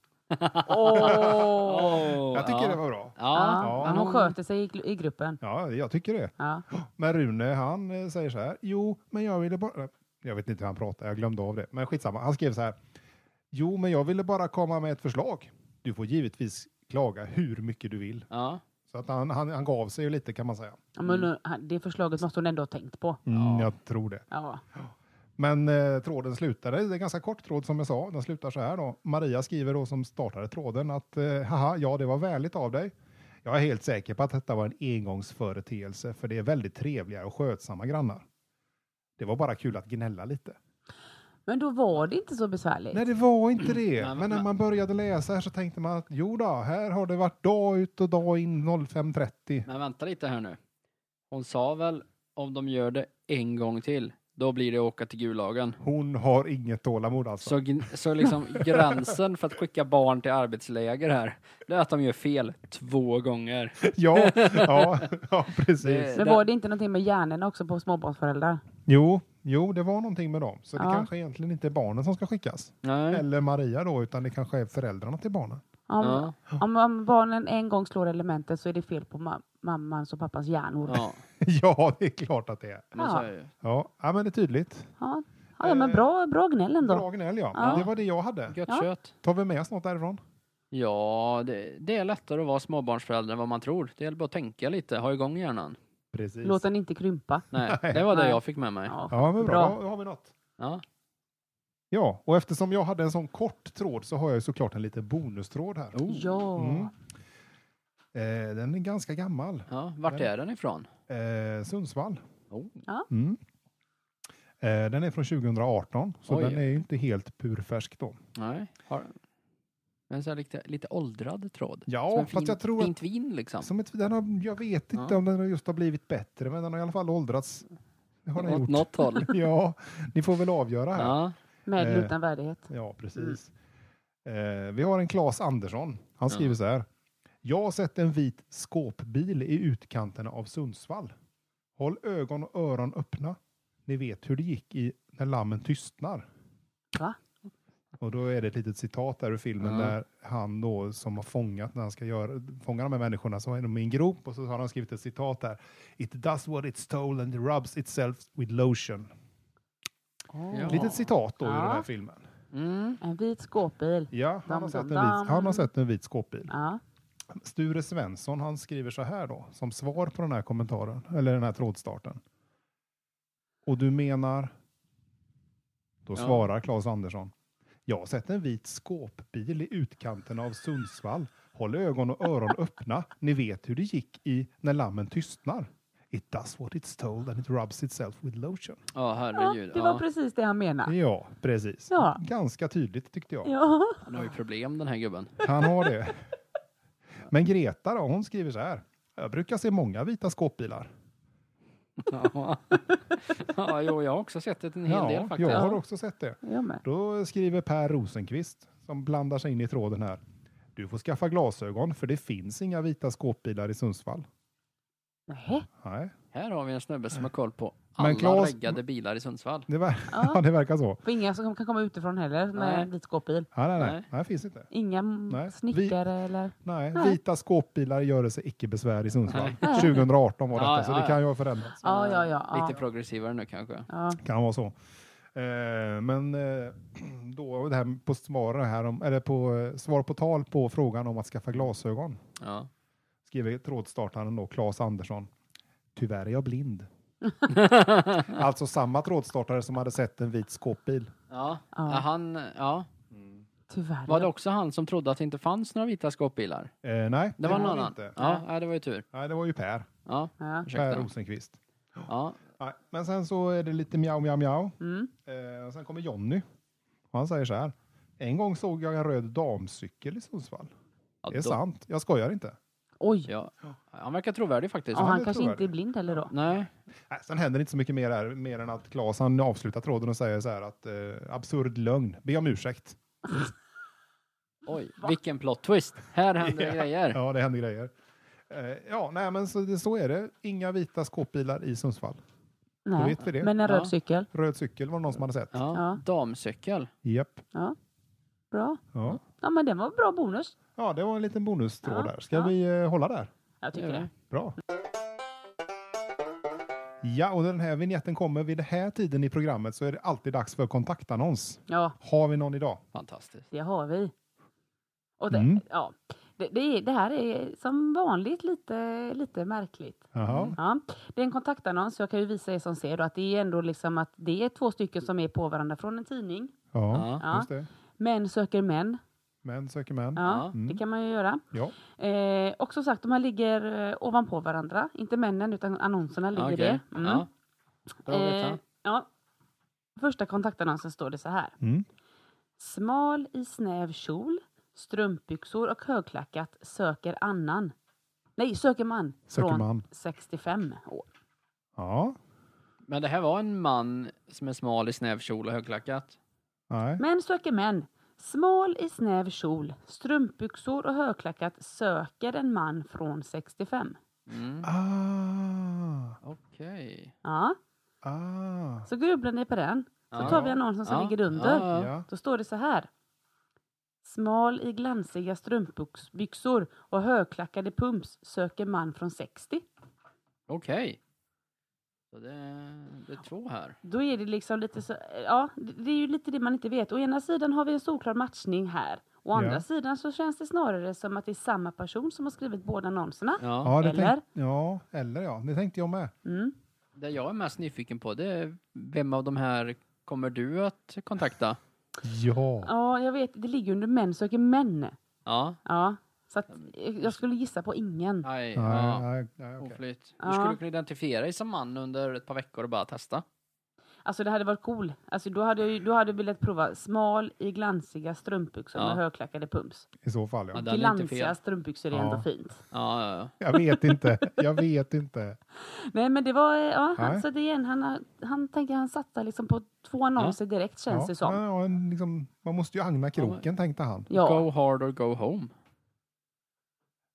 B: Åh!
C: Åh,
A: Jag tycker
C: ja.
A: det var bra.
C: Ja,
B: Ja, men hon sköter sig i, gl- i gruppen.
A: Ja, jag tycker det.
B: Ja.
A: Men Rune, han eh, säger så här. Jo, men jag ville bara... Jag vet inte hur han pratar, jag glömde av det. Men skitsamma, han skrev så här. Jo, men jag ville bara komma med ett förslag. Du får givetvis klaga hur mycket du vill.
C: ja.
A: Så att han, han, han gav sig ju lite kan man säga.
B: Ja, Men nu- han- det förslaget måste hon ändå ha tänkt på.
A: Mm, jag tror det.
B: Ja.
A: Men eh, tråden slutade, det är en ganska kort tråd som jag sa, den slutar så här då. Maria skriver då som startade tråden att eh, haha, ja det var vänligt av dig. Jag är helt säker på att detta var en engångsföreteelse för det är väldigt trevliga och skötsamma grannar. Det var bara kul att gnälla lite.
B: Men då var det inte så besvärligt.
A: Nej, det var inte det.
C: men-
A: Men när man började läsa här så tänkte man att jo då, här har det varit dag ut och dag in 05.30.
C: Men vänta lite här nu. Hon sa väl om de gör det en gång till, då blir det åka till Gulagen.
A: Hon har inget tålamod alltså.
C: Så, gn- så liksom gränsen för att skicka barn till arbetsläger här, det är att de gör fel två gånger.
A: Ja, ja, ja, precis.
C: Det-
B: Men var det inte någonting med hjärnorna också på småbarnsföräldrar?
A: Jo, jo, det var någonting med dem. Så det
B: Ja. Mm.
A: kanske egentligen inte är barnen som ska skickas.
C: Nej.
A: Eller Maria då, utan det kanske är föräldrarna till barnen.
B: Om,
C: Ja.
B: om, om barnen en gång slår elementet så är det fel på ma- mammans och pappans hjärnor. Ja.
C: Ja,
A: ja, det är klart att det är.
C: men så är det ju.
A: Ja, ja men det är tydligt. Eh,
B: Ja. ja, men bra, bra gnäll ändå.
A: Bra gnäll ja.
B: Ja.
A: Det var det jag hade.
C: Gött
B: Ja.
C: kött.
A: Tar vi med oss något därifrån?
C: Ja, det, det är lättare att vara småbarnsförälder än vad man tror. Det gäller bara att tänka lite, ha igång hjärnan.
A: Precis.
B: Låt den inte krympa.
C: Nej, det var det
B: Nej.
C: jag fick med mig.
B: Ja.
A: Ja, men bra.
B: Bra.
A: Då har vi något.
C: Ja.
A: Ja, och eftersom jag hade en sån kort tråd så har jag ju såklart en liten bonustråd här.
C: Oh.
B: Ja.
A: Mm. Eh, den är ganska gammal.
C: Ja, vart är den ifrån?
A: Eh, Sundsvall.
C: Oh.
B: Ja.
A: Mm. Eh, den är från 2018, så
C: Oj.
A: den är ju inte helt purfärsk då.
C: Nej. Har... Men så här lite, lite åldrad tråd. Som
A: Ja,
C: en fin,
A: fast jag tror att
C: fint vin liksom.
A: Som ett, den har, jag vet inte
C: Ja.
A: om den har just har blivit bättre, men den har i alla fall åldrats. Det har den
C: Åt
A: gjort.
C: något håll.
A: Ja, ni får väl avgöra här. Ja,
C: ja.
B: Med
A: Eh.
B: eller utan värdighet.
A: precis. Eh, vi har en Claes Andersson. Han skriver så här. Jag har sett en vit skåpbil i utkanterna av Sundsvall. Håll ögon och öron öppna. Ni vet hur det gick i När lammen tystnar.
B: Va?
A: Och då är det ett litet citat där ur filmen
C: Ja.
A: där han då som har fångat, när han ska göra, fånga de här människorna, så är de i en grop och så har han skrivit ett citat där. It does what it stole and rubs itself with lotion.
C: Ja.
A: Litet citat då ur
B: Ja.
A: den här filmen.
C: Mm.
B: En vit skåpbil.
A: Ja, han har,
B: Dam,
A: sett en
B: dam,
A: vit,
B: dam.
A: han har sett en vit skåpbil.
B: Ja.
A: Sture Svensson, han skriver så här då, som svar på den här kommentaren, eller den här trådstarten. Och du menar? Då
C: Ja.
A: svarar Claes Andersson. Jag har sett en vit skåpbil i utkanten av Sundsvall. Håll ögon och öron öppna. Ni vet hur det gick i När lammen tystnar. It does what it's told and it rubs itself with lotion.
C: Ja,
B: ja,
C: herregud.
B: det var
C: Ja.
B: precis det han menade.
A: Ja, precis.
B: Ja.
A: Ganska tydligt tyckte jag.
B: Ja.
C: Han har ju problem den här gubben.
A: Han har det. Men Greta då, hon skriver så här. Jag brukar se många vita skåpbilar.
C: Ja, ja jo, jag har också sett ett en hel del faktiskt.
A: Jag har
C: Ja.
A: också sett det.
B: Jag med.
A: Då skriver Per Rosenqvist som blandar sig in i tråden här. Du får skaffa glasögon för det finns inga vita skåpbilar i Sundsvall.
B: Nähä.
A: Nej,
C: Här har vi en snubbe som har koll på
A: Men
C: alla
A: Claes-
C: reggade bilar i Sundsvall.
A: det, ver-
B: Ja.
A: ja. det verkar så.
B: Och inga som kan komma utifrån heller med
C: Nej.
B: vit skåpbil.
A: Nej, nej, nej.
C: Nej.
A: nej. det finns inte.
B: Inga m-
A: Nej.
B: snickare eller...
A: Nej.
B: Nej.
A: Vita skåpbilar gör sig icke besvär i Sundsvall.
C: Nej.
A: 2018 var detta,
C: Ja,
A: så
C: ja,
A: det
C: ja.
A: kan ju ha förändrats.
B: Ja, ja, ja.
C: Lite
B: ja.
C: progressivare nu kanske.
B: Ja.
A: Kan vara så. Eh, men eh, då det här på svar här om, eller på eh, svar på tal på frågan om att skaffa glasögon
C: Ja.
A: skriver trådstartaren då Claes Andersson. Tyvärr är jag blind. alltså samma trådstartare som hade sett en vit skåpbil.
C: Ja.
B: Ja.
C: Ja, han, ja.
B: Tyvärr.
C: Var det också han som trodde att det inte fanns några vita skåpbilar?
A: Eh, nej,
C: Det var någon annan.
A: inte.
C: Ja, nej, det var ju tur.
A: Nej, det var ju Per.
C: Ja,
B: Ja.
A: Per
C: ursäkta.
A: Rosenqvist.
C: Ja.
A: Nej, men sen så är det lite mjau, mjau, mjau.
B: Mm.
A: Eh, och sen kommer Jonny. Och han säger så här. En gång såg jag en röd damcykel i Sundsvall.
C: Ja,
A: Det är
C: då-
A: sant. Jag skojar inte.
B: Oj.
C: Ja. Han verkar trovärdig faktiskt.
B: Ja,
A: han
B: han
A: är
B: kanske
A: trovärdig.
B: inte är blind heller då.
C: Nej.
A: Nej, sen händer inte så mycket mer här, mer än att Claes han avslutar tråden och säger så här att eh, absurd lögn, be om ursäkt.
C: Oj, vilken plot twist. Här händer
A: Ja.
C: grejer.
A: Ja, det händer grejer. Eh, ja, nej men så, det, så är det. Inga vita skåpbilar i Sundsvall. Då
B: Nej.
A: vet vi det.
B: Men en röd
C: Ja.
B: cykel.
A: Röd cykel var det någon som hade sett.
C: Ja.
B: Ja.
C: Damcykel.
A: Japp.
B: Bra.
A: Ja.
B: Ja, men den var bra bonus.
A: ja, det var en liten bonustråd
B: Ja,
A: där. Ska
B: ja.
A: vi eh, hålla där?
B: Jag tycker
C: Gör
B: det.
A: Bra. Ja, och den här vignetten kommer vid den här tiden i programmet så är det alltid dags för kontaktannons.
B: Ja,
A: Har vi någon idag?
C: Fantastiskt.
B: det har vi. Och det,
A: Mm.
B: ja, det, det, är- det här är som vanligt lite, lite märkligt.
A: Jaha.
B: Ja, det är en kontaktannons. Jag kan ju visa er som ser då att det är ändå liksom att det är två stycken som är på varandra från en tidning.
A: Ja,
C: Ja.
B: Ja.
A: just det.
B: Män söker män.
A: Män söker män. Mm.
B: Ja,
C: Ja.
B: det kan man ju göra.
A: Ja.
B: Eh, och som sagt, de här ligger eh, ovanpå varandra. Inte männen, utan annonserna ligger
C: Okej.
B: det. Mm.
C: Ja. Bra att
B: Eh,
C: veta.
B: ja. Första kontaktannonsen står det så här.
A: Mm.
B: Smal i snäv kjol, strumpbyxor och högklackat söker annan. Nej, söker man.
A: Söker
B: från
A: man.
B: 65 år.
A: Ja.
C: Men det här var en man som är smal i snäv kjol och högklackat.
A: Nej.
B: Män söker män. Smal i snäv kjol, strumpbyxor och högklackat söker en man från 65.
C: Mm.
A: Ah.
C: Okej.
B: Ja,
A: Ah.
B: så grubblar ni på den. Så
C: Ja.
B: tar vi annonsen som
C: Ja.
B: ligger under.
C: Ja.
A: Ja.
B: Då står det så här. Smal i glansiga strumpbyxor och högklackade pumps söker man från 60.
C: Okej. Så det, det är två här.
B: Då är det liksom lite så, ja, det det är ju lite det man inte vet. Å ena sidan har vi en solklar matchning här. Å andra
A: Ja.
B: sidan så känns det snarare som att det är samma person som har skrivit båda annonserna.
C: Ja.
A: Ja, det
B: Eller?
A: Tänk, ja, eller ja. Det tänkte jag med.
B: Mm.
C: Det jag är mest nyfiken på det är vem av de här kommer du att kontakta?
A: Ja.
B: Ja, jag vet, det ligger under män söker män.
C: Ja.
B: Ja, så att eh, jag skulle gissa på ingen.
C: Nej.
A: Nej,
C: Ja.
A: nej, nej, okej.
C: Oflyt.
B: Ja.
C: Du skulle kunna identifiera dig som man under ett par veckor och bara testa.
B: Alltså det hade varit cool. Alltså då hade jag ju- då hade jag velat prova smal i glansiga strumpbyxor
C: Ja.
B: med högklackade pumps.
A: I så fall
C: Ja,
A: ja.
C: det är inte
B: Glansiga
C: fel.
B: strumpbyxor är
A: Ja.
B: ändå fint.
C: Ja, ja, ja.
A: Jag vet inte. Jag vet inte.
B: Nej men det var, eh, ja,
A: Nej.
B: han, så det igen, han, har- han tänker han satsar liksom på två annonser direkt känns
A: Ja,
B: det som.
A: ja, ja, en liksom, man måste ju agna kroken tänkte han.
B: Ja,
C: Go hard or go home.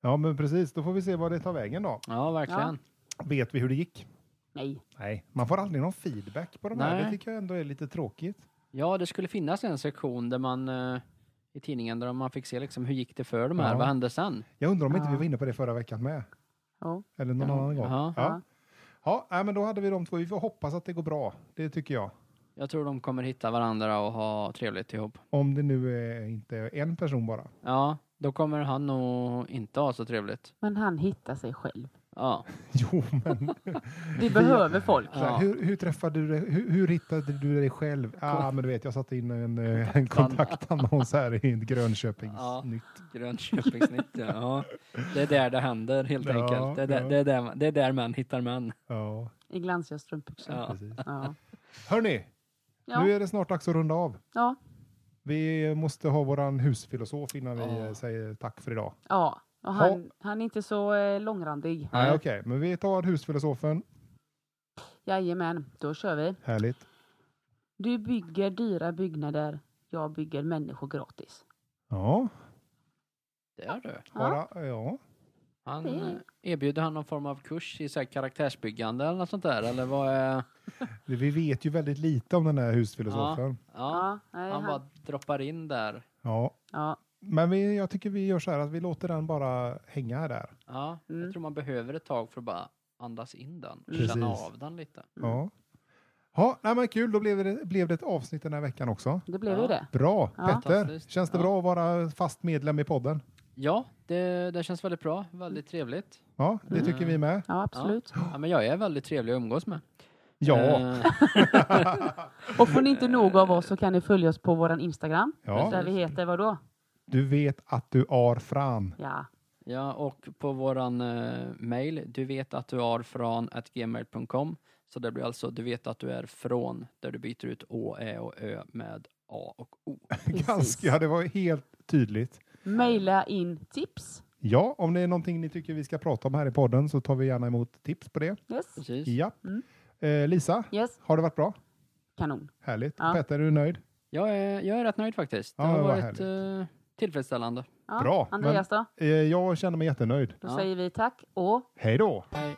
A: Ja, men precis. Då får vi se vad det tar vägen då.
C: Ja, verkligen.
A: Vet vi hur det gick?
B: nej.
A: Nej, man får aldrig någon feedback på de här.
C: Nej.
A: Det tycker jag ändå är lite tråkigt.
C: Ja, det skulle finnas en sektion där man eh, i tidningen där man fick se liksom hur gick det för de här,
A: Ja.
C: vad hände sen?
A: Jag undrar om inte
B: Ja.
A: vi var inne på det förra veckan med.
B: Ja.
A: Eller någon
C: Ja.
A: annan gång.
C: Ja.
A: Ja, ja nej, men då hade vi de två. Vi får hoppas att det går bra. Det tycker jag.
C: Jag tror de kommer hitta varandra och ha trevligt ihop.
A: Om det nu är inte är en person bara.
C: Ja, då kommer han nog inte ha så trevligt.
B: Men han hittar sig själv.
C: Ja,
A: Jo, men
B: Vi behöver folk.
A: så här,
C: Ja.
A: hur, hur träffade du dig? Hur, hur hittade du dig själv? ah, men du vet, jag satte in en, eh, en kontaktannons här i Grönköpings
C: Ja.
A: nytt.
C: Grönköpingsnitt, ja. Det är där det händer helt
A: Ja,
C: enkelt. Det är, där,
A: ja.
C: det, är där, det är där män hittar män.
A: Ja,
B: I glansiga strumpbyxor. Ja.
C: Ja.
A: precis.
B: Ja.
A: Hörni, nu
B: Ja.
A: är det snart dags att runda av.
B: ja,
A: Vi måste ha våran husfilosof innan vi
C: Ja.
A: eh, säger tack för idag.
B: Och han, han är inte så eh, långrandig.
A: Nej, okej, men vi tar husfilosofen.
B: Jajamän, då kör vi.
A: Härligt.
B: Du bygger dyra byggnader. Jag bygger människor gratis.
A: Ja,
C: Där du.
B: Ja.
A: bara, ja.
C: Han,
B: Det är-
C: eh, erbjuder han någon form av kurs i så här karaktärsbyggande eller något sånt där? Eller vad är...
A: Vi vet ju väldigt lite om den här husfilosofen.
C: Ja,
B: Ja, nej,
C: han
B: han,
C: bara droppar in där.
A: Ja.
B: ja.
A: Men vi, jag tycker vi gör så här att vi låter den bara hänga här där.
C: Ja,
B: Mm.
C: jag tror man behöver ett tag för att bara andas in den. och
A: Precis.
C: Känna av den lite.
A: Ja. Ja, nej men kul, då blev det, blev det ett avsnitt den här veckan också.
B: Det blev
C: Ja.
B: ju det.
A: Bra!
B: Ja.
A: Petter,
C: Fantastiskt.
A: känns det
C: Ja.
A: bra att vara fast medlem i podden?
C: Ja, det, det känns väldigt bra. Väldigt trevligt.
A: Ja,
B: Mm.
A: det tycker vi med.
B: Ja, absolut.
C: Ja, men jag är väldigt trevlig att umgås med.
A: Ja,
C: Eh,
B: Och får ni inte nog av oss så kan ni följa oss på vår Instagram. Där
A: ja.
B: vi heter vadå?
A: du vet att du är fram.
B: Ja,
C: Ja, och på våran eh, mail, du vet att du är från at gmail.com. Så det blir alltså, du vet att du är från, där du byter ut å, ä och ö med a och o.
B: precis.
A: Ganska, ja, det var helt tydligt.
B: Maila in tips.
A: Ja, om det är någonting ni tycker vi ska prata om här i podden så tar vi gärna emot tips på det.
B: Yes.
C: Precis.
A: Ja.
B: Mm.
A: Eh, Lisa,
B: yes,
A: har det varit bra?
B: kanon.
A: Härligt.
B: Ja.
A: Petter, är du nöjd?
C: Jag är, jag är rätt nöjd faktiskt. Det
A: Ja,
C: har
A: vad
C: varit eh, tillfredsställande.
B: Ja.
A: Bra,
B: Andreas då?
A: Eh, jag känner mig jättenöjd.
B: Då
C: Ja.
B: säger vi tack och
A: Hej då!
C: Hej.